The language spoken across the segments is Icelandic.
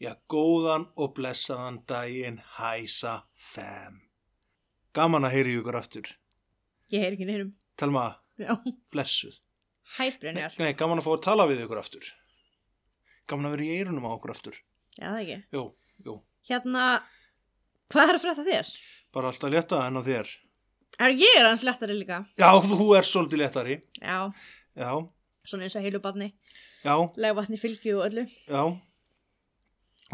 Já, góðan og blessaðan daginn, hæsa, fem. Gaman að heyri ykkur aftur. Ég heyr ekki neyrum. Telma, Já. blessuð. Hæ, Nei, Brynjar. nei, gaman að fá að tala við ykkur aftur. Gaman að vera í eirunum á okkur aftur. Já, það ekki. Jú, jú, Hérna, hvað er að frétta þér? bara alltaf létta en á þér. Er ég er hans lettari líka? Já, þú er svolítið léttari. Já, Já, svona eins og heilubarni, já, legvatni fylgju og öllu. já.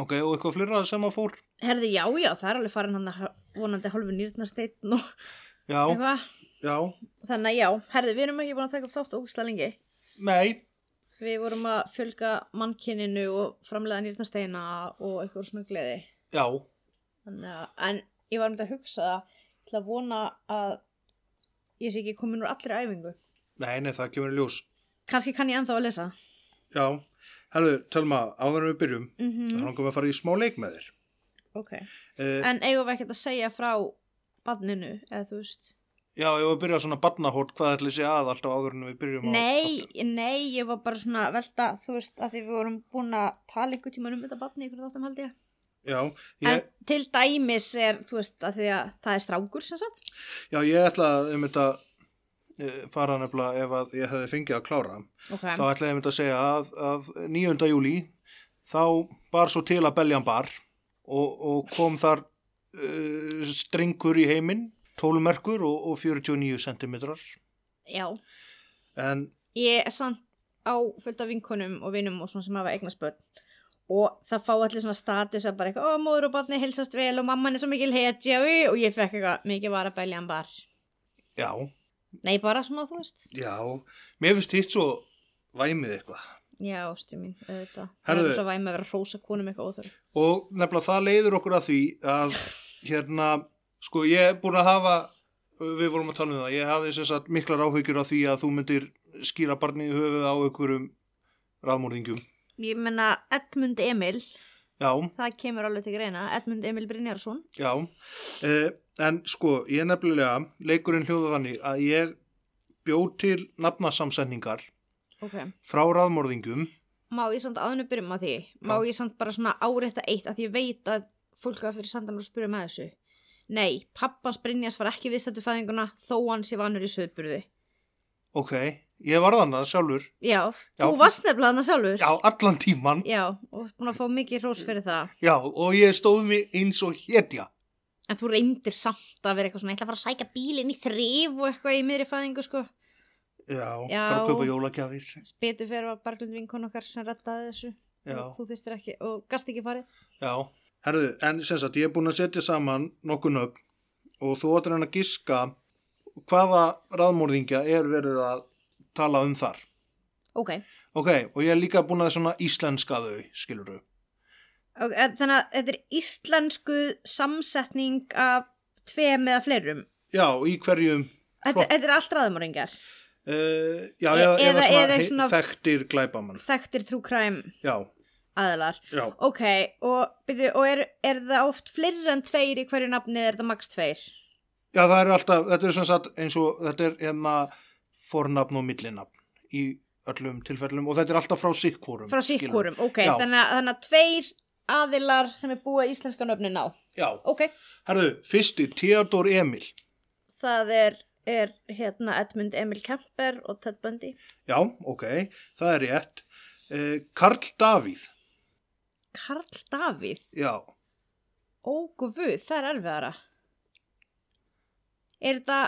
Ok, og eitthvað fleira sem að fór? Herði, já, já, það er alveg farin hann að vonandi hálfu nýrnarsteinn og Já, eitthvað. já, Þannig að já, herði, við erum ekki búin að taka upp þátt ógustlega lengi. nei, Við vorum að fjölga mannkininu og framlega nýrnarsteina og eitthvað svona gleði. já, Þannig að, en ég var um þetta að hugsa það, til að vona að ég sé ekki komin úr allri æfingu. nei, nei, það kemur í ljós. Kanski kann ég ennþá að lesa. Já, herðu, Telma, áður en við byrjum, Mm þá langar við að fara í smá leik með þér. Ok. Uh, En eigum við ekkert að segja frá barninu, eða þú veist? Já, ég var að byrja svona barnahort, hvað ætli sé að alltaf áður en við byrjum Nei, á... nei, ég var bara svona að velta, þú veist, að því við vorum búin að tala einhver tíma um þetta barni, ykkur þáttum held ég. Já, ég, En til dæmis er, þú veist, að því að það er strákur sem sagt. já, ég ætla að um þetta eh, fara nefnilega ef að ég hefði fengið að klára. Ok. Þá ætla ég um þetta að segja að, að 9. júli þá bar svo til að beljan bar og, og kom þar uh, strengur í heiminn, 12 merkur og, og 49 sentimetrar. Já, En ég er samt á fullt af vinkunum og vinum og svona sem hafa eignast börn og það fá allir svona status að bara eitthvað, ó, móður og barni hilsast vel og mamman er svo mikil hetja í", og ég fekk eitthvað, mikið var að bælja hann bar. já, Nei, bara svona, þú veist. já, mér finnst hitt svo væmið eitthvað. Já, ástu mín, auðvitað. Herðu- Herðu. Það er svo væm að vera að hrósa konum eitthvað óþörf. og nefnilega það leiður okkur að því að hérna, sko ég er búin að hafa við vorum að tala um það, ég hafði sem sagt miklar áhyggjur að því að þú myndir skýra barnið í höfuð á einhverjum rafmórðingjum, Ég menna Edmund Emil, já, það kemur alveg til greina, Edmund Emil Brynjarsson. já eh, en sko, ég nefnilega leikurinn hljóða þannig að ég bjó til nafnasamsendingar Ok. frá rafmórðingjum Má ég samt aðunni byrjum að því? Má Já. ég samt bara svona áreita eitt að ég veit að fólk á eftir að senda mér að spyrja með þessu? Nei, pappans Brynjars var ekki viðstættu fæðinguna þó hann sé vanur í söðburði. ok, ég var þannig sjálfur Já, Já. þú varst nefnilega hann sjálfur. já, allan tíman, Já, og búin að fá mikið hrós fyrir það. já, og ég stóð mig eins og hétja En þú reyndir samt að vera eitthvað svona, ég ætla að fara að sækja bílinn í þrif og eitthvað í miðri fæðingu, sko. já, já, Já. fara að kaupa jólagjafir betur fyrir að Berglind vinkon okkar sem rettaði þessu Já. og þú þurftir ekki og gast ekki farið Já, herðu, en sem sagt, ég er búin að setja saman nokkuð nöfn og þú áttur hann að giska hvaða raðmórðingja er verið að tala um þar. ok, Ok, og ég er líka búin að svona íslenska þau, skilur þau. okay eh, þannig að þetta er íslensku samsetning af tveim eða fleirum Já, í hverjum, þetta, Flott. þetta er allt raðmóringar uh, já, E- eða, eða- eða, svona, eða eða svona- þekktir glæpamann. þekktir true crime Já, aðilar já, ok, og, byrju, og er, er það oft fleiri en tveir í hverju nafni eða er það max tveir já, það er alltaf, þetta er sem sagt eins og, þetta er hérna fornafn og millinafn í öllum tilfellum og þetta er alltaf frá sikkvorum. frá síkkurum, ok, Já. þannig að, þannig að tveir aðilar sem er búið íslenska nöfnin á Já, ok, herðu, fyrsti, Theodor Emil. það er, er hérna Edmund Emil Kemper og Ted Bundy Já, ok, það er rétt. Eh, Karl Davíð, Karl Davíð já, Ógufuð, það er erfiðara Er þetta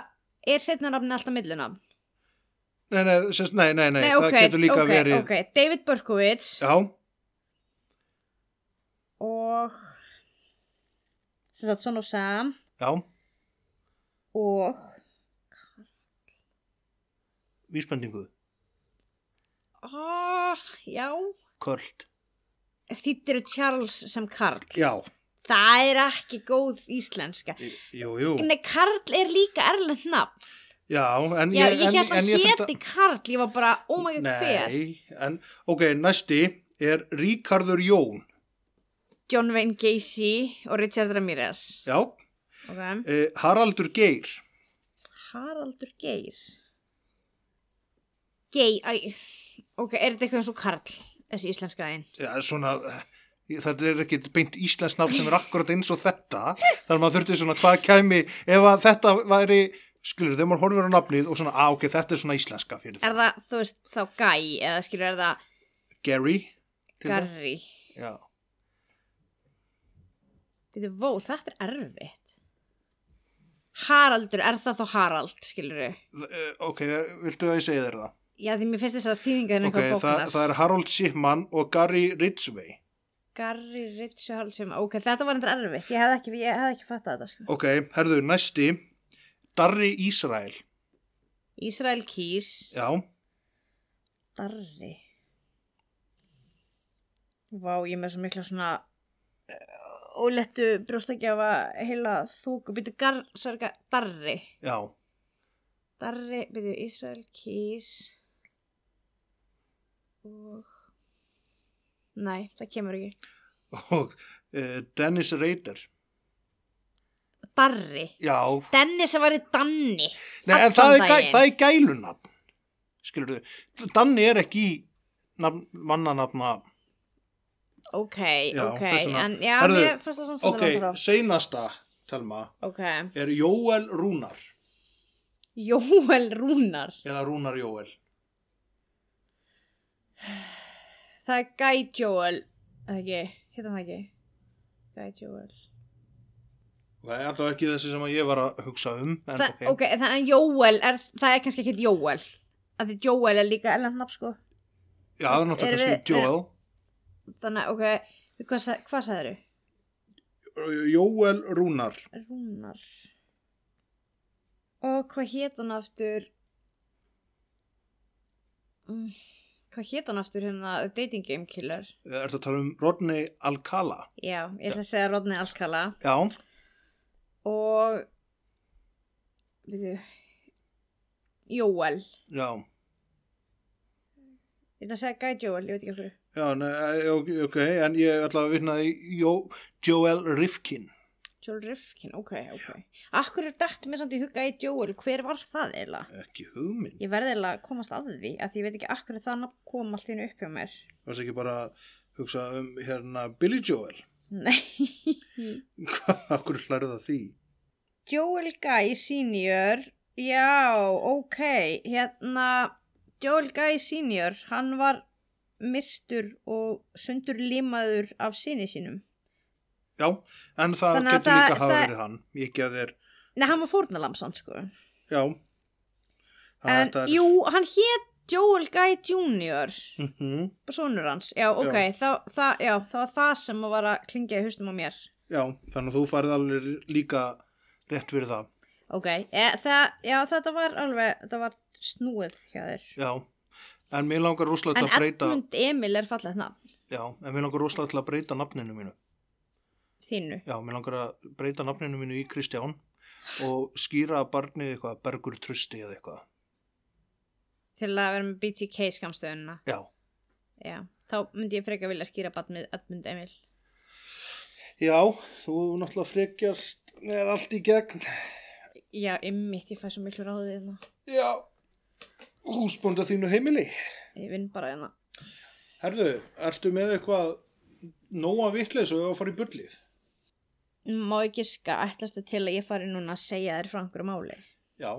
Er setna nafni alltaf millunafn? nei, nei, sérst, nei, nei, nei, það getur líka ok, verið, ok, David Berkowitz já, og sem sagt Son og Sam já, og vísbendingu, oh, ah, já, köld Þýttir Charles sem Karl já, Það er ekki góð íslenska í- jú, jú Nei, Karl er líka erlend nafn já, en Já, ég, ég en, held hann en ég héti Karl Ég var bara, oh my god, hver nei, en ok, næsti er Ríkarður Jón John Wayne Gacy og Richard Ramirez já, okay. e, Haraldur Geir Haraldur Geir Geir æ, Ok, er þetta eitthvað eins og Karl þessi íslenska einn já, svona eh, þetta er ekki beint íslensk nafn sem er akkurat eins og þetta þar maður þurfti svona hvað kæmi ef að þetta væri skilur, þegar maður horfir á nafnið og svona, á ok, þetta er svona íslenska fyrir Er það, það, þú veist, þá Gæ eða skilur, er það Gary til dæmis. Garri já, Þetta er vó, þetta er erfitt Haraldur, er það þá Harald, skilur Þ- eh, ok, viltu að ég segja þér það Já, því mér finnst hérna þess að þýðinga þenni Ok, okay, eitthvað það, bóknar það er Harold Shipman og Gary Ridgway Garri, Ritsu, Halsum, ok, þetta var endur erfitt Ég hefði ekki, ég hefði ekki fattað þetta, sko Ok, herðu, næsti Darri Ísrael Ísrael Kís Já, Darri Vá, ég er með svo mikla svona eh, óléttu brjóstakjafa heila þúku, byrju gar, sarga, Darri já, Darri, byrju, Ísrael Kís og Nei, það kemur ekki og uh, Dennis Rader Darri Já, Dennis að væri Danni Nei, en Allan það er, gæ, daginn. það er gælunafn Skilurðu, Danni er ekki í nafn, mannanafna Ok, Já, ok, þess vegna. en já, Herðu, mér fannst það samt sem Ok, það langt frá seinasta, telma Ok, er Jóel Rúnar Jóel Rúnar eða Rúnar Jóel Það er Guy Joel Það ekki, hittan það ekki Guy Joel Það er alltaf ekki þessi sem að ég var að hugsa um en, það, Ok, þannig að Jóel er, það er kannski ekki Jóel að því Jóel er líka ellendnafn sko Já, það er Erum náttúrulega við- kannski Jóel Þannig að, ok, hvað, sa- hvað sagðirðu? Jóel Rúnar Rúnar Og hvað hétt hann aftur Mm, Hvað hétt hann aftur hérna The Dating Game Killer Er þetta að tala um Rodney Alcala Já, ég ætla að segja Rodney Alcala Já, og við Jóel ég já ætla að segja Guy Jóel, ég veit ekki okkur Já, nei, eh, ok, ok, en ég ætla að vinna í Jó, Joel Rifkin. Joel Rifkin, ok, ok Akkur er dætt með samt í huga í Jóel hver var það eiginlega? Ekki hugminn. Ég verði eiginlega að komast að því að því ég veit ekki akkur er það nafn kom allt í hennu upp hjá mér Það er ekki bara að hugsa um hérna Billy Joel. Nei Hvað, okkur hlærðu það því? Joel Guy senior Já, ok Hérna Joel Guy senior, hann var myrtur og sundur limaður af sinni sínum Já, en það Þannig að getur það- líka hafa það- verið hann. Ég gef þér, Nei, hann var fórnalamsamt sko já. En, þetta jú, hann hét Joel Guy Jr. Mhm, Sónur hans, já, ok, Já. Þá, það, já, það var það sem var að klingja í haustum á mér. já, þannig að þú farið alveg líka rétt fyrir það. Ok, e, það, já, þetta var alveg, þetta var snúið hjá þér. Já, en mér langar rosalega En til að breyta, Edmund Emil er fallið nafn já, en mér langar rosalega til að breyta nafninu mínu. þínu. Já, mér langar að breyta nafninu mínu í Kristján og skýra barnið eitthvað, bergur trusti eða eitthvað. Til að vera með BTK skamstöðuna, Já, já. Þá myndi ég freka vilja skýra bann með Edmund Emil. já, þú náttúrulega frekjast með allt í gegn. Já, ymmit, ég fæ svo miklu ráðið hérna. Já, húsbónda þínu heimili. Ég vinn bara hérna. Herðu, ertu með eitthvað nóa vitleis og ég var að fara í bullið? Má ekki ska, ætlastu til að ég fari núna að segja þér frá einhverju máli. Já,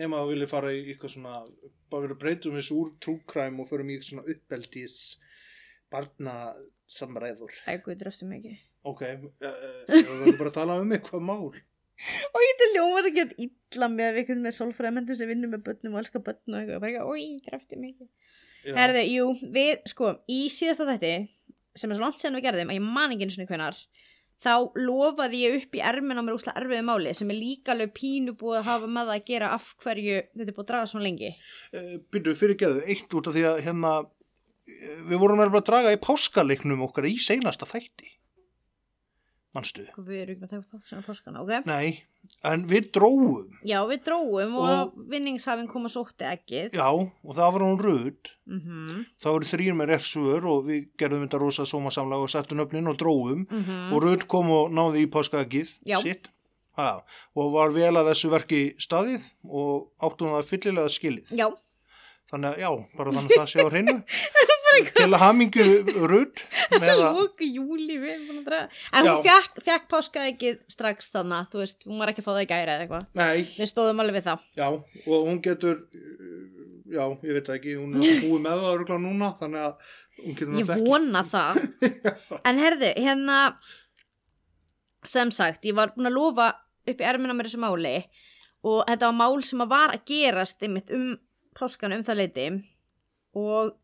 nema að þú vilja fara í eitthvað svona, bara verið að breytum þessu úr trúkræm og förum í svona uppeldis barnasamræður. Æ, guð, dröftu mig ekki. Ok, uh, við verðum bara að tala um eitthvað mál. Og ég til ljóma sem get illa með eitthvað með sólfræðamöndu sem vinnur með börnum og elskar börn og eitthvað, bara eitthvað, oi, krafti um mikið. Já. Herðu, jú, við, sko, í síðasta þætti, sem er svo langt sen við gerðum, að ég man ekki eins og hvernar, þá lofaði ég upp í ermin á mér úsla erfiðu máli sem er líka alveg pínu búið að hafa með það að Eh, gera af hverju þetta er búið að draga svona lengi. Uh, byrju, fyrirgeðu, eitt út af því að hérna við vorum alveg að draga í páskaleiknum okkar í seinasta þætti manstu Sko, Við erum ekki að taka þátt sem að páskana, ok? nei, en við dróum Já, við dróum og, Og- og... vinningshafinn kom að sótti ekkið. já, og það var hún röð Mm -hmm. þá eru þrýr með reksur og við gerðum þetta rosa sómasamlega og settum öfnin og dróum og Rödd kom og náði í páskaðgið Mhm. Já. sitt ha, og var vel að þessu verki staðið og átti hún það fyllilega skilið Já, þannig að já, bara þannig að það sé á hreinu til að hamingju Rödd með að lóku júli við erum búin að draga. En hún Já. fjakk, fjakk páska ekkið strax þannig, þú veist, hún var ekki að fá það í gæra eða eitthvað. Nei, Við stóðum alveg við það. já, og hún getur uh, já, ég veit það ekki hún er búið með það örgulega núna þannig að hún getur Ég náttúrulega vona það. En herðu, hérna, sem sagt, ég var búin að lofa upp í ermina mér þessu máli og þetta var mál sem að var að gerast einmitt um páskan um það leiti og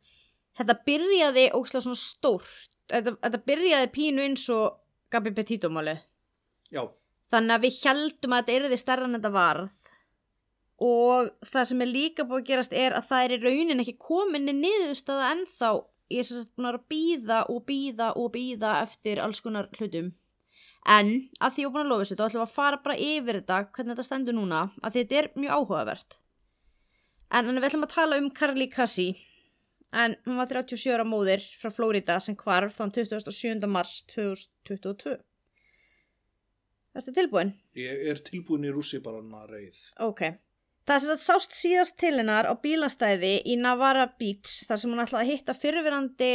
þetta byrjaði ókslega svona stórt. Þetta, þetta byrjaði pínu eins og Gabi Petito-máli. já, Þannig að við hjaldum að þetta yrði stærra en þetta varð og það sem er líka búið að gerast er að það er í raunin ekki kominni niðurstaða ennþá ég er sem sagt búin að vera að býða og býða og býða eftir alls konar hlutum en að því ég er búin að lofa þessu þá ætlum við að fara bara yfir þetta hvernig þetta stendur núna að þetta er mjög áhugavert en, en við ætlum að tala um Carly Cassie en hún var 37 ára móðir frá Flórida sem hvarf þann 27. mars 2022 Ertu tilbúin? ég er tilbúin í rússi bara hann að reið Ok. Það sem þetta sást síðast til hennar á bílastæði í Navara Beach þar sem hún ætlaði að hitta fyrirverandi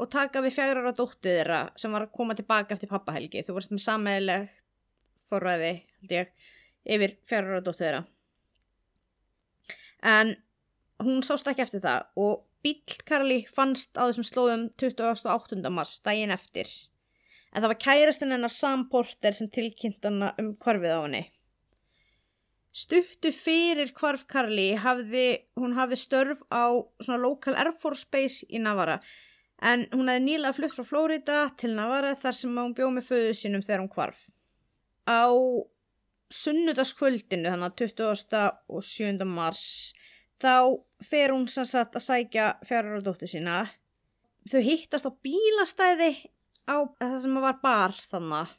og taka við fjagra ára dóttið þeirra sem var að koma tilbaka eftir pappahelgi. Þau voru sem sammeðilegt forræði, held ég, yfir fjagra ára dóttið þeirra. En hún sást ekki eftir það og bíll Karli fannst á þessum slóðum 28. mars daginn eftir. En það var kærastinn hennar Sam Porter sem tilkynnt hana um hvarfið á henni. Stuttu fyrir hvarf Karli hafði, hún hafði störf á svona local Air Force Base í Navara en hún hefði nýlega flutt frá Flórida til Navara þar sem hún bjóð með föðu sínum þegar hún hvarf. Á sunnudagskvöldinu þannig að 20. og 7. mars þá fer hún sem sagt að sækja fjárur og dóttir sína. Þau hittast á bílastæði á það sem var bar þannig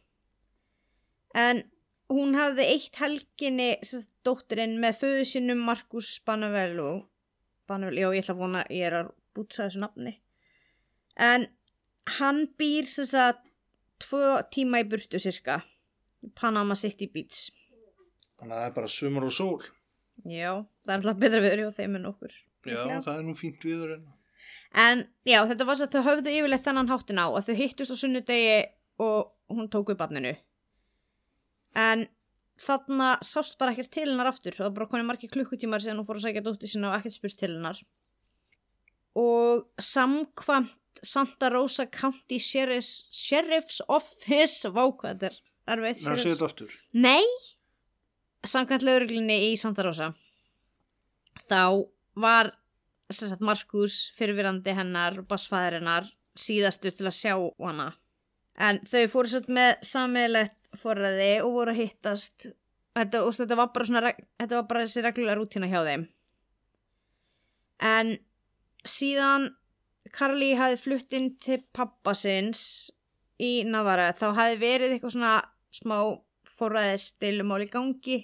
en hún hafði eitt helginni sem sagt, dóttirinn með föðu sínum Markus Banavello Banavello, já ég ætla að vona ég er að bútsa þessu nafni en hann býr sem sagt tvo tíma í burtu cirka í Panama City Beach þannig að það er bara sumar og sól já, það er alltaf betra viður hjá þeim en okkur já, Já. það er nú fínt viður hérna. en En já, þetta var svo að þau höfðu yfirleitt þennan háttin á að þau hittust á sunnudegi og hún tók við barninu. En þarna sást bara ekkert til hennar aftur. Það var bara konið margir klukkutímar síðan hún fór að sækja dóttir sína og ekkert spurst til hennar. Og samkvamt Santa Rosa County Sheriff's, Sheriff's Office, vá hvað þetta er, erfið. það segir þetta aftur Nei, samkvæmt lögreglunni í Santa Rosa þá var sem sagt, Markus fyrirverandi hennar og bassfæðir hennar síðastur til að sjá hana en þau fóru satt með sammeðlegt forræði og voru að hittast þetta, og þetta var bara, svona, reg- þetta var bara þessi reglulega rútina hjá þeim en síðan Karli hafði flutt inn til pappa sinns í Navara þá hafði verið eitthvað svona smá forræðistilumál í gangi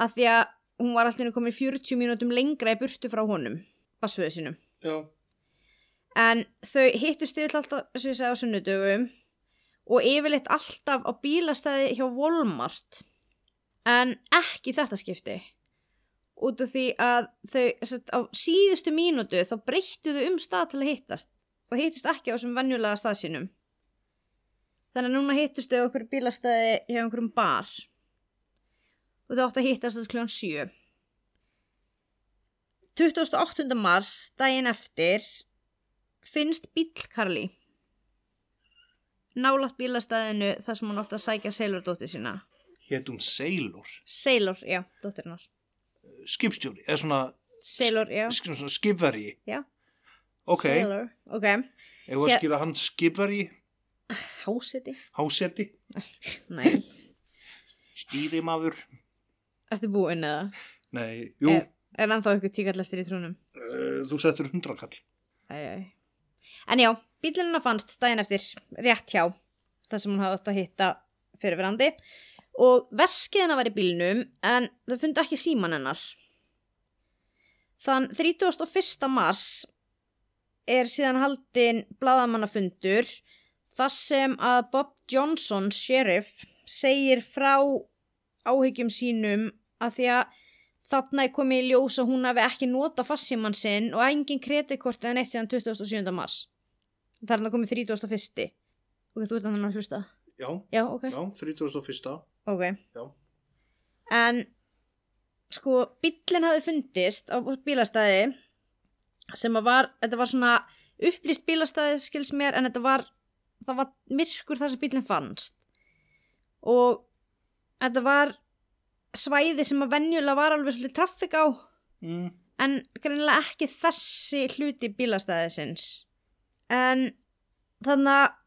af því að hún var alltaf komin 40 mínútum lengra í burtu frá honum, basföðu sinum já, en þau hittust yfirleitt alltaf, sem ég segja, á sunnudögum og yfirleitt alltaf á bílastæði hjá Walmart en ekki þetta skipti út af því að þau sett, á síðustu mínútu þá breyttu þau um stað til að hittast og hittust ekki á þessum venjulega stað sínum þannig að núna hittust þau á einhverju bílastæði hjá einhverjum bar og þau áttu að hittast að kljóðan 7 28. mars daginn eftir finnst bíll Karli nálat bílastæðinu þar sem hún átti að sækja Sailor dóttir sína hétt hún Sailor Sailor, já, dóttirinnar skipstjóri, eða svona, Sailor, já, sk- svona skipverji já ok, Sailor, ok ef við Hér- skýra hann skipverji Háseti? háseti, Nei, stýrimaður ertu búinn eða? nei, jú, Eh. eh, Er ennþá eitthvað tíkallestir í trúnum? uh, þú settur hundrakall Æ, æ. En já, bílunina fannst daginn eftir rétt hjá þar sem hún hafði átt að hitta fyrirverandi og veskiðina var í bílnum en þau fundu ekki síman hennar. Þann 31. mars er síðan haldin bladamannafundur þar sem að Bob Johnson, sheriff, segir frá áhyggjum sínum að því að þarna er komið í ljós að hún hafi ekki nota fassíman sinn og engin kreditkort eða neitt síðan 27. mars það er hann að komið 31. ok, þú ert að hann að hlusta Já, já, ok, já, 31. ok Já. en sko, bíllinn hafi fundist á bílastæði sem að var, þetta var svona upplýst bílastæði skils mér en þetta var, það var myrkur þar sem bíllinn fannst og þetta var svæði sem að venjulega var alveg svolítið traffik á Mm. en greinilega ekki þessi hluti bílastæðisins. En þannig að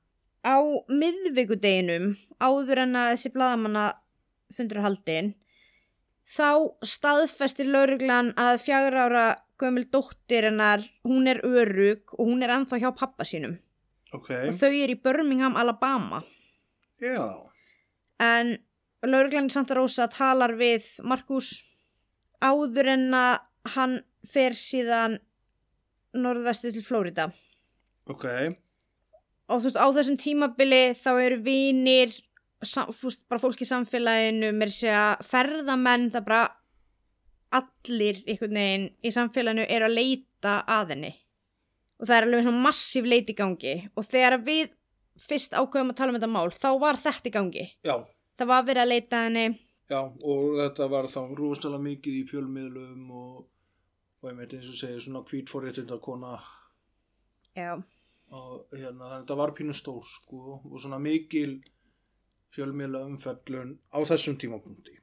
á miðvikudeginum áður en að þessi bladamanna fundur haldin, þá staðfestir lauruglan að fjagra ára gömul dóttir hennar, hún er örug og hún er anþá hjá pappa sínum. Ok, Og þau eru í Birmingham, Alabama. já, En lauruglan í Santa Rosa talar við Markus áður en að hann fer síðan norðvestu til Flórida. ok, Og þú veist, á þessum tímabili þá eru vinir, sam, þú veist, bara fólk í samfélaginu, mér sé að ferðamenn, það bara allir einhvern veginn í samfélaginu eru að leita að henni. Og það er alveg svona massíf leit í gangi. Og þegar að við fyrst ákveðum að tala um þetta mál, þá var þetta í gangi. já, Það var verið að leita að henni. já, og þetta var þá rosalega mikið í fjölmiðlum og, og ég meit eins og segja svona hvítforréttinda kona Já. og hérna þannig að þetta var pínu stór sko og svona mikil fjölmiðla umfellun á þessum tímapunkti.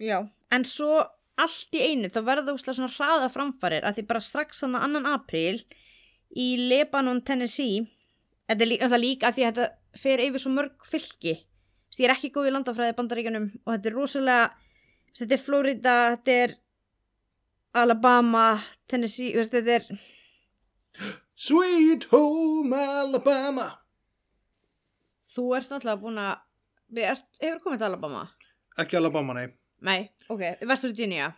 Já, en svo allt í einu þá verða úslega svona hraða framfarir að því bara strax hann 2. apríl í Lebanon, Tennessee þetta er líka, líka að því að þetta fer yfir svo mörg fylki Þessi, ég er ekki góð í landafræði bandaríkjanum og þetta er rosalega þessi, þetta er Florida, þetta er Alabama, Tennessee þessi, þetta er Sweet Home Alabama þú ert náttúrulega búin að við ert, hefur komið til Alabama Ekki Alabama, nei. nei, ok, West Virginia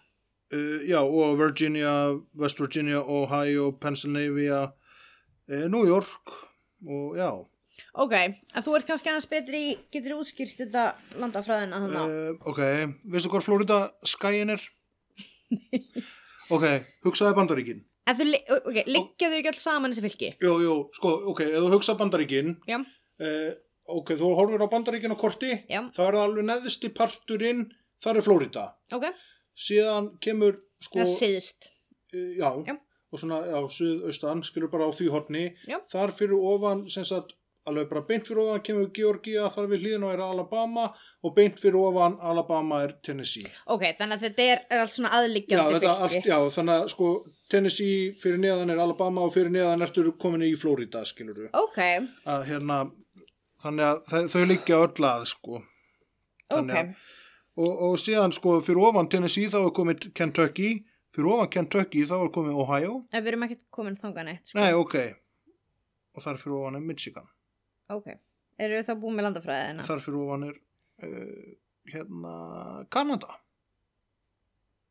Uh, já, og Virginia, West Virginia, Ohio, Pennsylvania, uh, New York og já. ok, en þú ert kannski aðeins betri í- getur útskýrt þetta landafræðina þannig Uh, ok, veistu hvað Florida skæin er? ok, hugsaði Bandaríkin. En þau, li- ok, liggja þau ekki alls saman þessi fylki? Jú, jú, sko, ok, ef þú hugsaði Bandaríkin, Já. uh, ok, þú horfir á Bandaríkin á korti, Já, það er það alveg neðsti parturinn, þar er Florida. ok. Síðan kemur, sko, Það síðst. eh, já, Já. og svona, já, suðaustan, skilur bara á því horni. Já. Þar fyrir ofan, sem sagt, alveg bara beint fyrir ofan kemur Georgia, þar við hlýðin og er Alabama og beint fyrir ofan Alabama er Tennessee. Ok, þannig að þetta er, er allt svona Já, aðliggjandi þetta fylki. allt, já, þannig að sko Tennessee fyrir neðan er Alabama og fyrir neðan ertur komin í Florida, skilur við. Ok, Að hérna, þannig að þau, þau liggja öll að, sko. ok. Þannig að- og, og síðan sko fyrir ofan Tennessee þá er komið Kentucky fyrir ofan Kentucky þá er komið Ohio En við erum ekki komin þangað neitt, sko. nei ok og þar fyrir ofan er Michigan Ok. Eru við þá búin með landafræðina? þar fyrir ofan er uh, hérna Kanada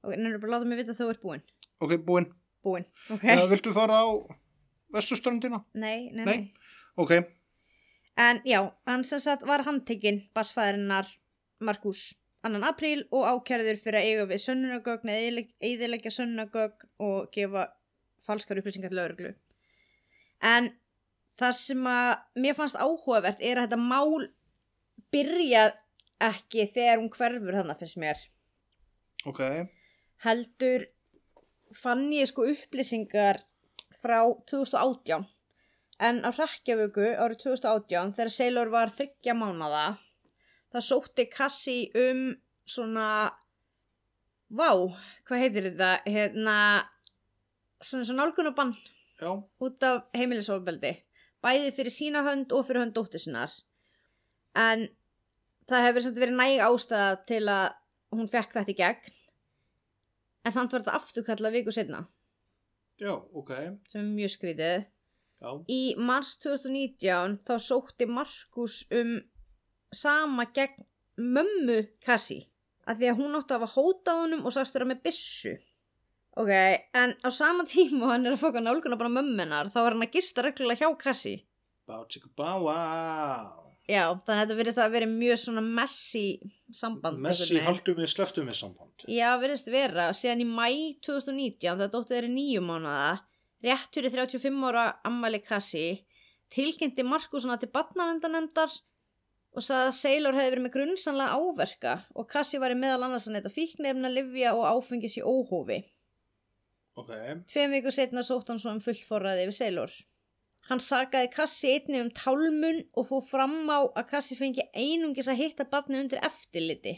Ok, nefnir bara að láta mig vita að þú ert búin. ok búinn Búin. Ok. eða viltu fara á vesturströndina Nei, nei, nei, Nei. ok En já, hann sem sagt var handtekinn, basfæðirinnar Markus 2. apríl og ákjærður fyrir að eiga við sönnunagögn eða eðilegja sönnunagögn og gefa falskar upplýsingar til lauruglu. En það sem að mér fannst áhugavert er að þetta mál byrjað ekki þegar hún hverfur þannig finnst mér. ok Heldur fann ég sko upplýsingar frá 2018 en á Rekkjavöku árið 2018 þegar Sailor var þryggja mánada það sótti kassi um svona vá, hvað heitir þetta hérna svona svona nálgunabann já út af heimilisofbeldi bæði fyrir sína hönd og fyrir hönd dóttur sinnar en það hefur samt verið næg ástæða til að hún fekk þetta í gegn en samt var þetta afturkallað viku setna Já, ok. sem er mjög skrítið. Já, Í mars 2019 þá sótti Markus um sama gegn mömmu Kassi að því að hún átti að hafa hótað honum og sagst vera með byssu. Ok, en á sama tíma og hann er að fóka nálguna bara mömmunar þá var hann að gista reglulega hjá Kassi. bá tjekka bá, wow. Já, þannig að þetta virðist að vera mjög svona messy samband. Messi einhvern veginn. haldum við sleftum við samband. Já, verðist vera. Síðan í mæ 2019, þegar dóttið er nýju mánuða, rétt fyrir 35 ára ammali kassi, tilkynnti Markusson að til batnavendanemdar og sagði að Sailor hefði verið með grunnsanlega áverka og kassi var í meðal annars að neyta fíknefna, livja og áfengis í óhófi. Ok, Tveim viku setna sótt hann svo um fullforraði yfir Sailor. Hann sakaði kassi einni um tálmun og fór fram á að kassi fengi einungis að hitta batni undir eftirliti.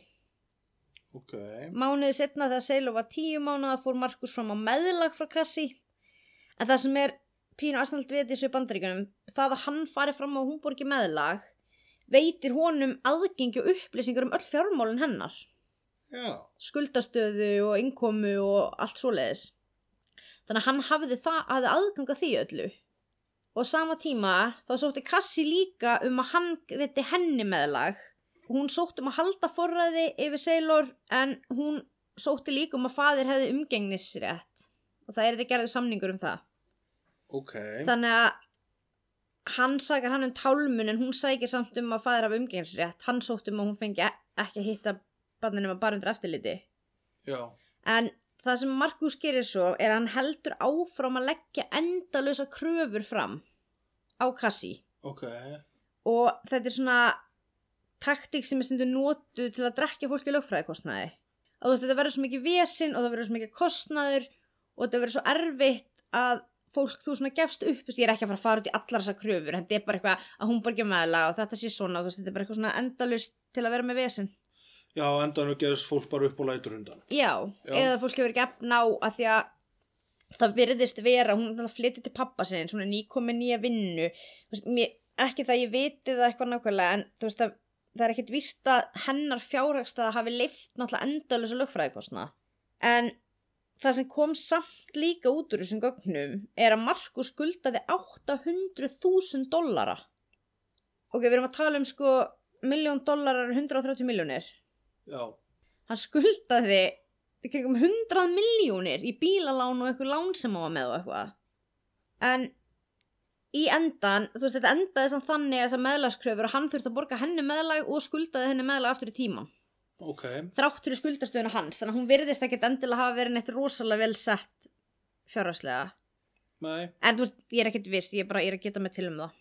ok. Mánuði setna þegar Seilo var tíu mánuða fór Markus fram á meðlag frá Kassi. En það sem er pínu aðstæðalt við þessu í bandaríkunum, það að hann fari fram á húnborgi meðlag veitir honum aðgengi og upplýsingar um öll fjármálin hennar, Já, skuldastöðu og innkomu og allt svoleiðis. Þannig að hann hafði, það, hafði aðganga því öllu. Og sama tíma þá sótti Kassi líka um að hann greiti henni meðlag. Hún sótti um að halda forræði yfir Sailor en hún sótti líka um að faðir hefði umgengnisrétt. Og það er þetta gerðu samningur um það. ok. Þannig að hann sakar hann um tálmun en hún sækir samt um að faðir hafa umgengnisrétt. Hann sótti um að hún fengi ekki að hitta barninum að bara undir eftirliti. Já, En það sem Markus gerir svo er að hann heldur áfram að leggja endalösa kröfur fram á kassi ok. og þetta er svona taktík sem er stundum notu til að drekja fólki lögfræðikostnaði. Að þú veist, þetta verður svo mikið vesinn og það verður svo mikið kostnaður og þetta verður svo erfitt að fólk þú svona gefst upp, þess að ég er ekki að fara að fara út í allar þessar kröfur, en þetta er bara eitthvað að hún borgja meðla og þetta sé svona og þú veist, þetta er bara eitthvað svona endalust til að vera með vesinn. Já, endanum geðist fólk bara upp og lætur undan. Já, Já. eða fólk hefur ekki efna á að því að það virðist vera, hún náttúrulega flyttur til pappa sinni, svona nýkomin nýja vinnu, Þú veist, mér, ekki það ég viti það eitthvað nákvæmlega, en þú veist að það er ekkit víst að hennar fjárhagstaða hafi leift náttúrulega endalösa lögfræðikostna. En það sem kom samt líka út úr þessum gögnum er að Markus skuldaði 800.000 dollara. Ok, við erum að tala um sko miljón dollarar, 130 miljónir Já, hann skuldaði í kringum 100 miljónir í bílalán og eitthvað lán sem hann var með og eitthvað. En í endan, þú veist, þetta endaði samt þannig að þessar meðlagskröfur og hann þurfti að borga henni meðlag og skuldaði henni meðlag aftur í tíman. ok. Þrátt fyrir skuldastöðuna hans, þannig að hún virðist ekkert endilega hafa verið neitt rosalega vel sett fjárhagslega. Nei, En þú veist, ég er ekkert viss, ég er bara ég er að geta mig til um það.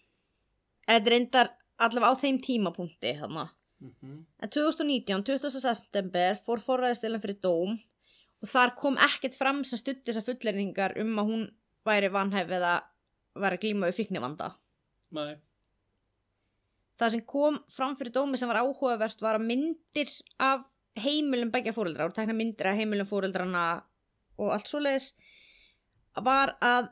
En Þetta reyndar allavega á þeim tímapunkti þannig. mhm. En 2019, 20. september, fór forræðistilan fyrir dóm og þar kom ekkert fram sem stutti þessar fullerinningar um að hún væri vanhæf eða væri að glíma við fíknivanda. nei, Það sem kom fram fyrir dómi sem var áhugavert var að myndir af heimilum begja fóreldra og tekna myndir af heimilum fóreldrana og allt svoleiðis var að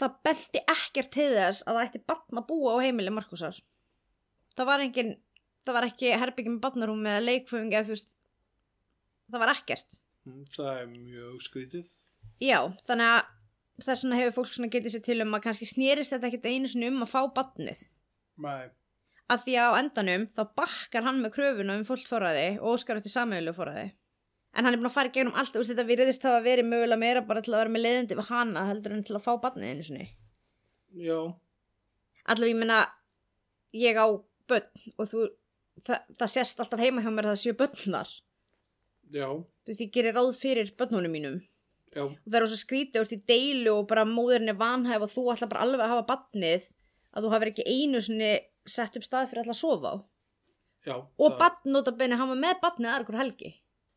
það benti ekkert til þess að það ætti batna búa á heimilum Markusar. Það var engin, það var ekki herbyggjum með batnarúm eða leikföðing eða þú veist, það var ekkert. Mm, það er mjög skrítið. Já, þannig að þess vegna hefur fólk svona getið sér til um að kannski snýrist þetta ekkert einu sinni um að fá batnið. Nei, að því að á endanum þá bakkar hann með kröfuna um fullt forræði og óskar eftir sameilu forræði en hann er búin að fara í gegnum allt og þetta virðist hafa verið mögulega meira bara til að vera með leiðindi við hana heldur en til að fá barnið einu sinni já, allavega ég meina ég á börn og þú það, það sést alltaf heima hjá mér að það séu börn þar þú já, veist ég gerir ráð fyrir börnunum mínum já, og það er svo skrítið úr því deilu og bara móðurinn er vanhæf og þú ætla bara alveg að hafa barnið að þú hafir ekki einu sinni sett upp stað fyrir að ætla að sofa á já. og það- barn nota benni, hann var með barnið aðra hver helgi,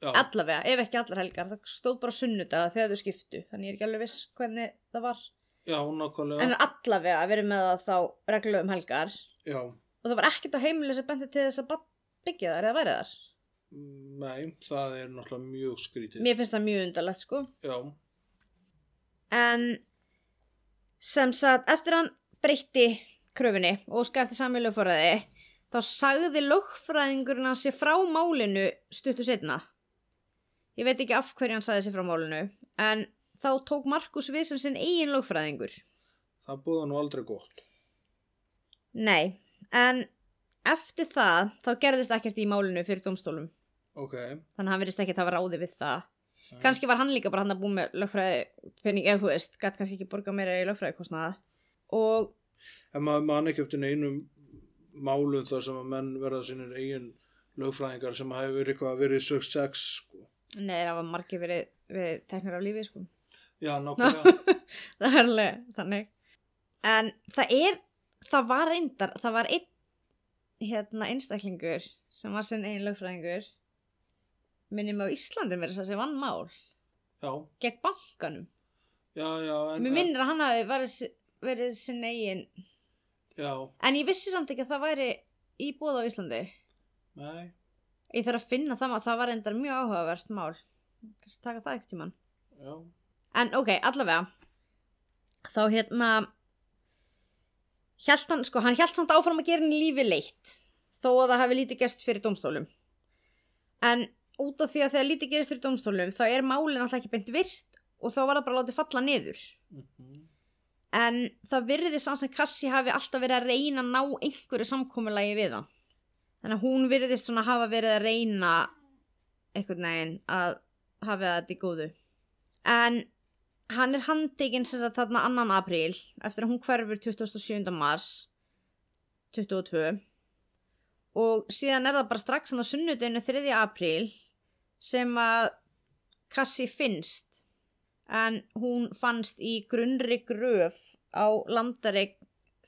Já, allavega, ef ekki allar helgar það stóð bara sunnudaga þegar þau skiptu þannig ég er ekki alveg viss hvernig það var já, nákvæmlega. en allavega að vera með það þá reglulegum helgar og Já, það var ekkert á heimilu sem benti til þess að barn byggja þar eða væri þar mm, nei, það er náttúrulega mjög skrítið. mér finnst það mjög undarlegt sko Já, en sem sagt, eftir hann breytti kröfunni og óska eftir samvílu fóræði þá sagði lögfræðingurinn að sér frá málinu stuttu setna ég veit ekki af hverju hann sagði sér frá málinu en þá tók Markus við sem sinn eigin lögfræðingur. Það búða nú aldrei gott. Nei, en eftir það þá gerðist ekkert í málinu fyrir dómstólum. Ok. Þannig að hann verðist ekki að hafa ráði við það. Kanski var hann líka bara hann að búið með lögfræði penning, eða þú veist, gætt kannski ekki borga meira í lögfræðikostnaða. Og En maður man ekki eftir neinum málum þar sem að menn verða sínir eigin lögfræðingar sem hefur verið eitthvað að verið sögst sex. Sko. nei, það var margir verið, verið teknir af lífi, sko. Já, nákvæmlega. það er alveg þannig. En það er, það var reyndar, það var einn, hérna, einstaklingur sem var sinn einn lögfræðingur, minnum á Íslandi verið þess að vann mál, já, gegn bankanum. já, já. En, Mér minnir að hann hafi verið, verið sinn eigin, En, já, en ég vissi samt ekki að það væri í bóð á Íslandi. nei. Ég þarf að finna það maður, það var reyndar mjög áhugavert mál. Kannski taka það ekkert tíman. Já, En ok, allavega. Þá hérna, hjælt hann, sko, hann hjælt samt áfram að gera henni lífi leitt. Þó að það hafi lítið gerst fyrir dómstólum. En út af því að þegar lítið gerist fyrir dómstólum, þá er málin alltaf ekki beint virt og þá var það bara látið falla niður. mm En það virðist hans að Kassi hafi alltaf verið að reyna að ná einhverju samkominlagi við hann. Þannig að hún virðist svona hafa verið að reyna einhvern veginn að hafa þetta í góðu. En hann er handtekinn sem sagt þarna 2. apríl eftir að hún hverfur 27. mars 22 og síðan er það bara strax hann á sunnudinu 3. apríl sem að Kassi finnst en hún fannst í grunnri gröf á landareik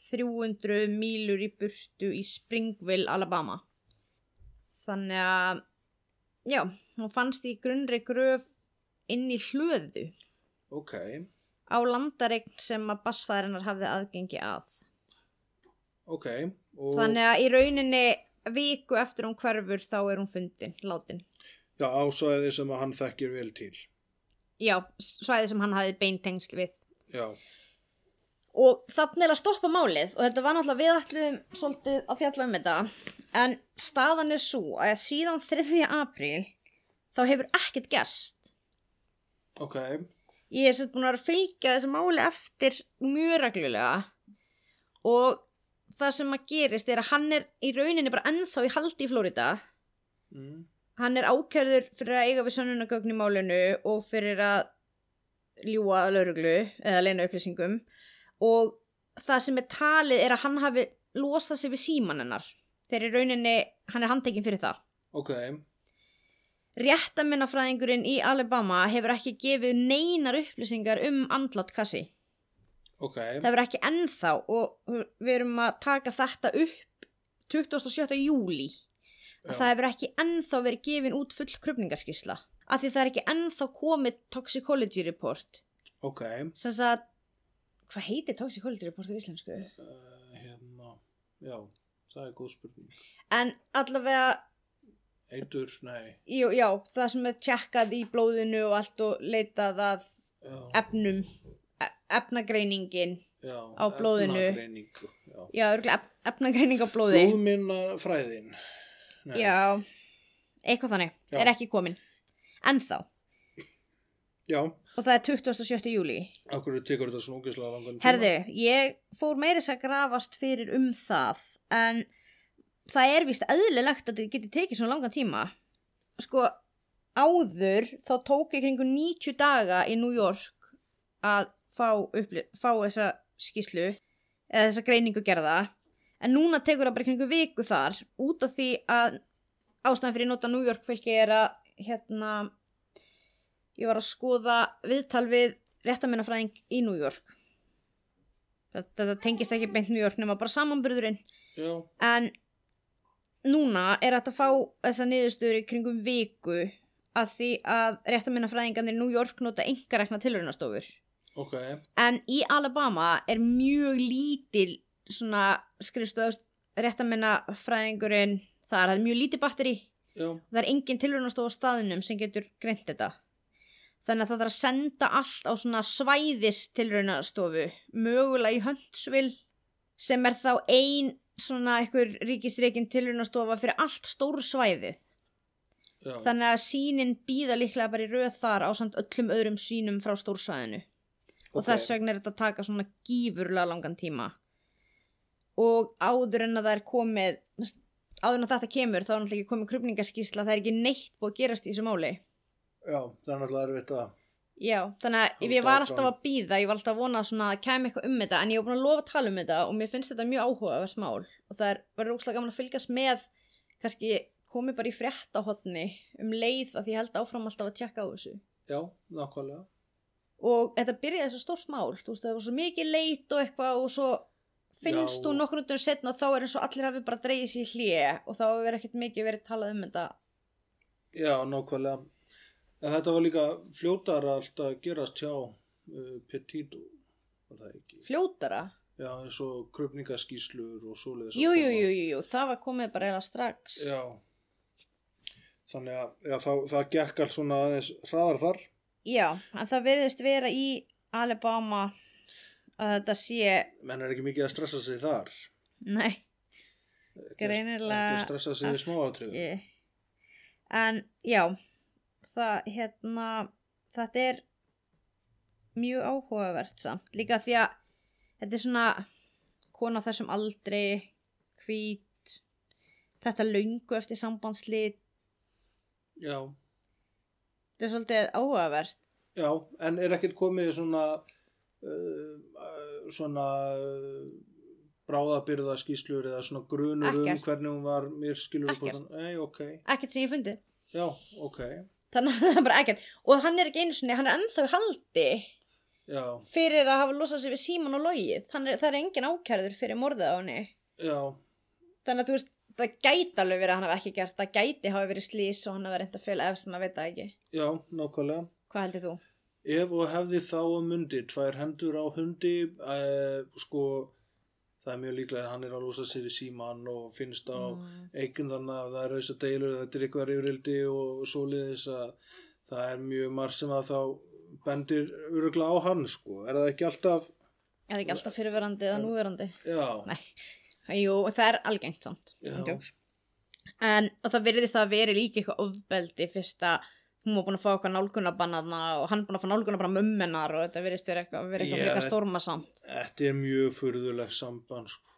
300 mílur í burtu í Springville, Alabama. Þannig að, já, hún fannst í grunnri gröf inn í hlöðu ok. á landareik sem að basfæðarinnar hafði aðgengi að. Ok. Og, Þannig að í rauninni viku eftir hún hverfur þá er hún fundin, látin. Já, ásvæði sem að hann þekkir vel til. Já, svæði sem hann hafði beintengsl við. Já, og þannig er að stoppa málið og þetta var náttúrulega við ætluðum svolítið að fjalla um þetta en staðan er svo að síðan 3. apríl þá hefur ekkert gerst ok. ég er sett búin að vera að fylgja þessu máli eftir mjög reglulega og það sem að gerist er að hann er í rauninni bara ennþá í haldi í Flórida Mm. hann er ákjörður fyrir að eiga við sönnunagögn í málinu og fyrir að ljúa að lauruglu eða leina upplýsingum og það sem er talið er að hann hafi losað sig við síman hennar þegar í rauninni hann er handtekinn fyrir það Ok. réttaminafræðingurinn í Alabama hefur ekki gefið neinar upplýsingar um andlat kassi Ok. það hefur ekki ennþá og við erum að taka þetta upp 27. júli Já. að það hefur ekki ennþá verið gefin út full kröpningarskísla af því það er ekki ennþá komið toxicology report Ok. sem sagt, hvað heitir toxicology report á íslensku? Uh, hérna. Já, það er góð spurning. en allavega, Eitur, nei. jú, já, það sem er tjekkað í blóðinu og allt og leitað að Já, efnum e- efnagreiningin já. á blóðinu. Efnagreiningu, Já. já, örugglega ef, efnagreining á blóði Blóðminna fræðin. Nei. já, eitthvað þannig, Já. er ekki komin ennþá, Já, og það er 27. júli af hverju tekur þetta svona ógislega langan tíma? Herðu, ég fór meiris að grafast fyrir um það en það er vist eðlilegt að þetta geti tekið svona langan tíma. Sko, áður þá tók ég kringu 90 daga í New York að fá, uppli- fá þessa skýslu eða þessa greiningu gerða en núna tekur það bara í kringu viku þar út af því að ástæðan fyrir að nota New York fylki er að hérna ég var að skoða viðtal við réttaminafræðing í New York þetta, þetta tengist ekki beint New York nema bara samanbyrðurinn Já, en núna er þetta að fá þessa niðurstöður í kringum viku að því að réttaminafræðingarnir í New York nota engarekna tilraunastofur ok. en í Alabama er mjög lítil svona skrifstöðust réttaminafræðingurinn þar, það er mjög lítið batteri Já, það er engin tilraunastof á staðinum sem getur greint þetta þannig að það þarf að senda allt á svona svæðis tilraunastofu mögulega í Huntsville sem er þá ein svona einhver ríkisreikin tilraunastofa fyrir allt stór svæðið já, þannig að sínin býða líklega bara í röð þar á samt öllum öðrum sínum frá stórsæðinu og ok. þess vegna er þetta að taka svona gífurlega langan tíma og áður en að það er komið þú veist, áður en að þetta kemur þá er náttúrulega ekki komið krupningaskísla það er ekki neitt búið að gerast í þessu máli já, það er náttúrulega erfitt að já, þannig að Halda ég var áfram. alltaf að býða ég var alltaf að vona svona að kæmi eitthvað um þetta en ég var búin að lofa að tala um þetta og mér finnst þetta mjög áhugavert mál og það er verið óslega gaman að fylgjast með kannski komið bara í fréttahotni um leið að ég held áfram alltaf að tjekka á þessu já, nákvæmlega og þetta byrjaði þessu stórt mál þú veist það var svo mikið leit og eitthvað og svo finnst Já. þú nokkur undur setna og þá er eins og allir hafi bara dreigið sér hlje og þá hefur ekkert mikið verið talað um þetta já, nákvæmlega en þetta var líka fljótar allt að gerast hjá uh, Petito var það ekki fljótara já, eins og kröpningaskíslur og svoleiðis að jú, jú, koma. jú, jú, jú, það var komið bara eða strax já þannig að já, þá, það gekk allt svona aðeins hraðar þar Já, en það virðist vera í Alabama að þetta sé menn er ekki mikið að stressa sig þar nei, Ekki að- Greinilega Ah. ekki að stressa sig í smáatriðum ekki en já það hérna þetta er mjög áhugavert samt líka því að þetta er svona kona á þessum aldri hvít þetta löngu eftir sambandslit já, þetta er svolítið áhugavert já, en er ekkert komið svona uh, uh, svona uh, bráðabyrða skýslur eða svona grunur Ekkert. um hvernig hún var mér skilur upp Ekkert. ei, ok, ekkert sem ég fundi já, ok þannig að það er bara ekkert og hann er ekki einu sinni, hann er ennþá í haldi já, fyrir að hafa losað sér við síman og logið Hann er, það er engin ákærður fyrir morðið á henni já, þannig að þú veist það gæti alveg verið að hann hafi ekki gert það gæti hafi verið slís og hann hafi reynd að fjöla efst maður veit það ekki já, nákvæmlega hvað heldur þú? Ef og hefði þá um mundi, tvær hendur á hundi, eh, sko, það er mjög líklega að hann er að losa sig við síman og finnst á mm. Mm. eigin þannig að það er þess að deilur, þetta er eitthvað reyfrildi og svoleiðis að það er mjög marg sem að þá bendir öruglega á hann, sko. Er það ekki alltaf, er ekki alltaf fyrirverandi eða núverandi já, nei, jú, það er algengt samt Já. Án djóks. en og það virðist að veri líka eitthvað ofbeldi fyrst að hún var búin að fá eitthvað nálgunabannaðna og hann búin að fá nálgunabanna mummenar og þetta virðist verið eitthvað, verið eitthvað Já, yeah. þetta- frekar stormasamt þetta er mjög furðulegt samband, sko.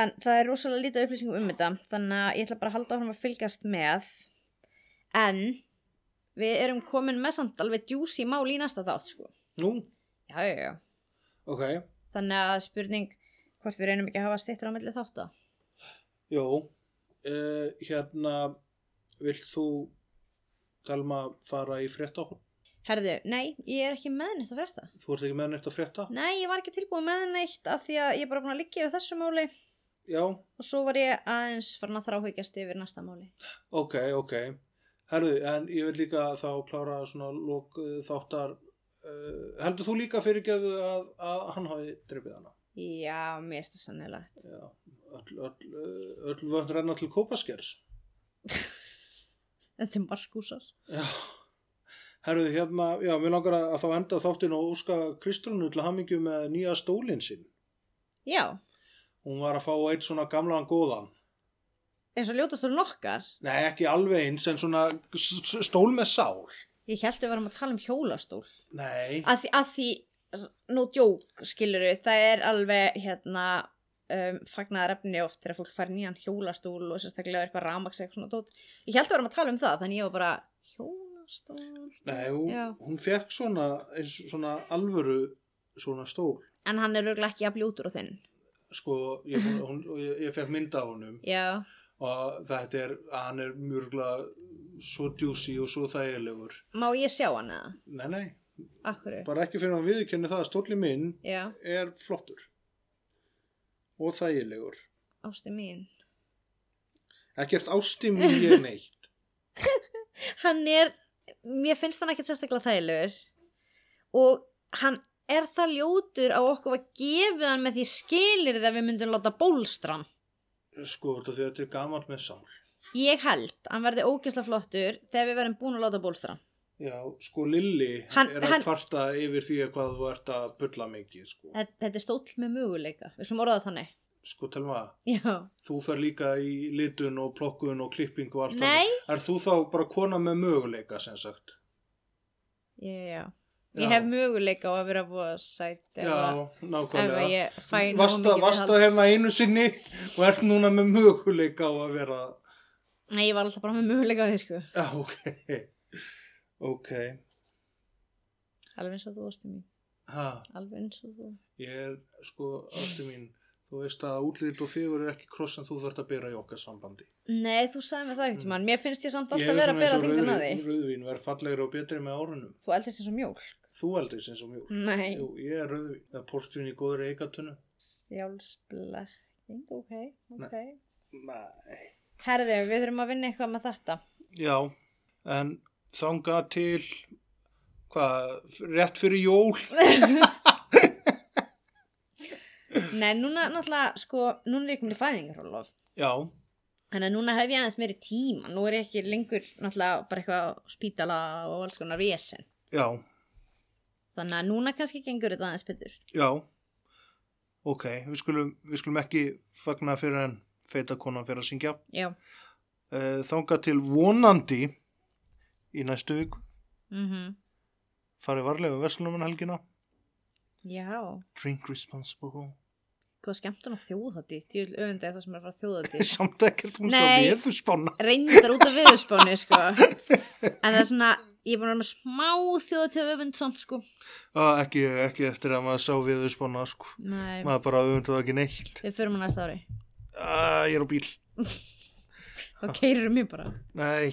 En það er rosalega lítið upplýsingum um þetta, þannig að ég ætla bara að halda áfram að fylgjast með. En við erum komin með samt alveg djúsi mál í næsta þátt, sko. Nú, Já, já, já. ok, Þannig að spurning hvort við reynum ekki að hafa stittur á milli þátt að. jó, uh, hérna, vilt þú, Telma, fara í fréttahótt? Herðu, nei, ég er ekki með neitt að verða það. Þú ert ekki með neitt að frétta? Nei, ég var ekki tilbúin með neitt af því að ég er bara búin að liggja yfir þessu máli Já, og svo var ég aðeins farin að þráhugjast yfir næsta máli. ok, ok. Herðu, en ég vil líka þá klára svona lók uh, þáttar. Uh, heldur þú líka fyrirgefðu að, að hann hafi dreipið hana? Já, mér er þetta sannilegt. Já, öll, öll, uh, öll vönd renna til kópaskers. Þetta er markúsar. Já. Herðu, hérna, já, mér langar að, að þá enda þáttin og óska Kristrúnu til hamingju með nýja stólinn sinn. Já, Hún var að fá eitt svona gamlan góðan. eins og ljótastur nokkar. Nei, ekki alveg eins, en svona s- s- stól með sál. Ég held við varum að tala um hjólastól. Nei, að því, að því nú djók skilur við, það er alveg hérna um, fagnaðar efni oft þegar fólk fær nýjan hjólastúl og sérstaklega eitthvað ramaks eitthvað svona tótt ég held að vera að tala um það, þannig ég var bara hjólastúl Nei, hún, Já. hún fekk svona, eins, svona alvöru svona stól. en hann er auðvitað ekki að bljótur á þinn Sko, ég, hún, og ég, ég fekk mynd af honum já, og þetta er, hann er mjörgla svo djúsi og svo þægilegur. má ég sjá hann eða? Nei, nei, Akkur? bara ekki fyrir hann viðurkenni það að stóli minn Já, er flottur og þægilegur. ástu mín Ekkert ásti mín ég neitt. hann er, mér finnst hann ekkert sérstaklega þægilegur og hann er það ljótur á okkur að gefið hann með því skilir það við myndum láta bólstram Sko, þetta því að þetta er gamalt með sál. Ég held að hann verði ógeðslega flottur þegar við verðum búin að láta bólstra. Já, sko, Lilli Hann- er að hann- kvarta yfir því að hvað þú ert að bulla mikið, sko. Þetta, þetta er stóll með möguleika. Við slum orðað þannig. sko telma, Já. þú fer líka í litun og plokkun og klippingu og allt Nei. annað. Er þú þá bara kona með möguleika sem sagt? Já, já. Já. Ég hef möguleika á að vera búið að sæti ef Já, nákvæmlega. að ég fæ nógu Vasta, mikið vasta viðhald. hérna einu sinni og ert núna með möguleika á að vera Nei, ég var alltaf bara með möguleika á því, sko. Já, ok Ok Alveg eins og þú, ástu mín. ha, Alveg eins og þú. Ég er, sko, ástu mín Þú veist að útlýtt og fegur er ekki kross en þú þarft að byrja í okkar sambandi Nei, þú sagði mér það ekkert, mann. Mér finnst ég samt Ég alltaf er vera að svona eins bera og þingdina því. rauðvín, rauðvín verð fallegri og betri með árunum Þú eldist eins og mjól. Þú heldur eins og mjög Nei. Jú, ég er rauðvín, það er portvín í góðri eikatunnu Sjálfsblekking, ok, ok. Nei Herðu, við þurfum að vinna eitthvað með þetta. Já, en þanga til hvað, rétt fyrir jól Nei, núna náttúrulega, sko, núna er ég komin í fæðingarhólof. Já, Þannig að núna hef ég aðeins meiri tíma. Nú er ég ekki lengur náttúrulega bara eitthvað á spítala og alls konar vesen. já Þannig að núna kannski gengur þetta aðeins betur. Já, ok, við skulum, við skulum ekki fagna fyrir en feita konan fyrir að syngja. Já. Eh, Þanga til vonandi í næstu viku, Mm farið varlega veslunum en helgina. Já. Drink responsible. Hvað skemmtun á þjóðhátti? Ég vil öfunda það sem er að fara þjóðhátti. Samt ekkert hún svo Nei. við þú spána. Reyndar út af viðspáni, sko. En það er svona, ég er búin að vera með smá þjóðhátti öfund samt, sko. Ah, ekki, ekki eftir að maður sá við þú spána, sko. Nei. Maður bara öfunduð ekki neitt. Við förum að næsta ári. Ah, ég er á bíl. Þá keirir mér bara. Nei,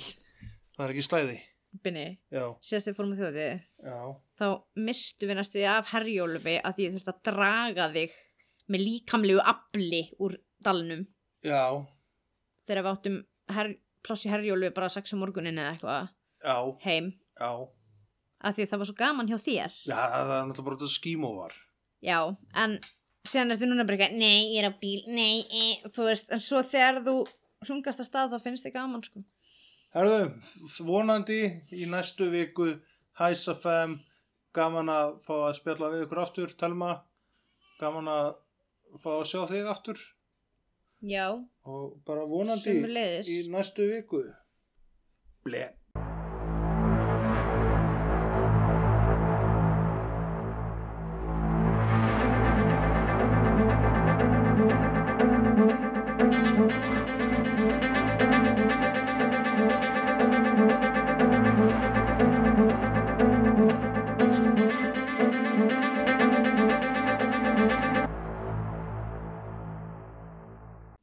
það er ekki stæði. Binni, Já, síðast við fórum að þjóðhátti. já, þá mistu við næstu því af herjólfi að því þú þurft að draga þig með líkamlegu afli úr dalnum já, þegar við áttum her, pláss í herjólfi bara 6 á morgunin eða eitthvað já, heim já. að því það var svo gaman hjá þér Já, það er náttúrulega bara þetta skímóvar. já, en síðan ertu núna bara eitthvað nei, ég er á bíl, nei, e, þú veist en svo þegar þú hlungast að stað þá finnst þið gaman sko Herðu, vonandi í næstu viku Hæsafem, gaman að fá að spjalla við ykkur aftur, Telma gaman að fá að sjá þig aftur já, og bara vonandi Sömuleiðis. í næstu viku Ble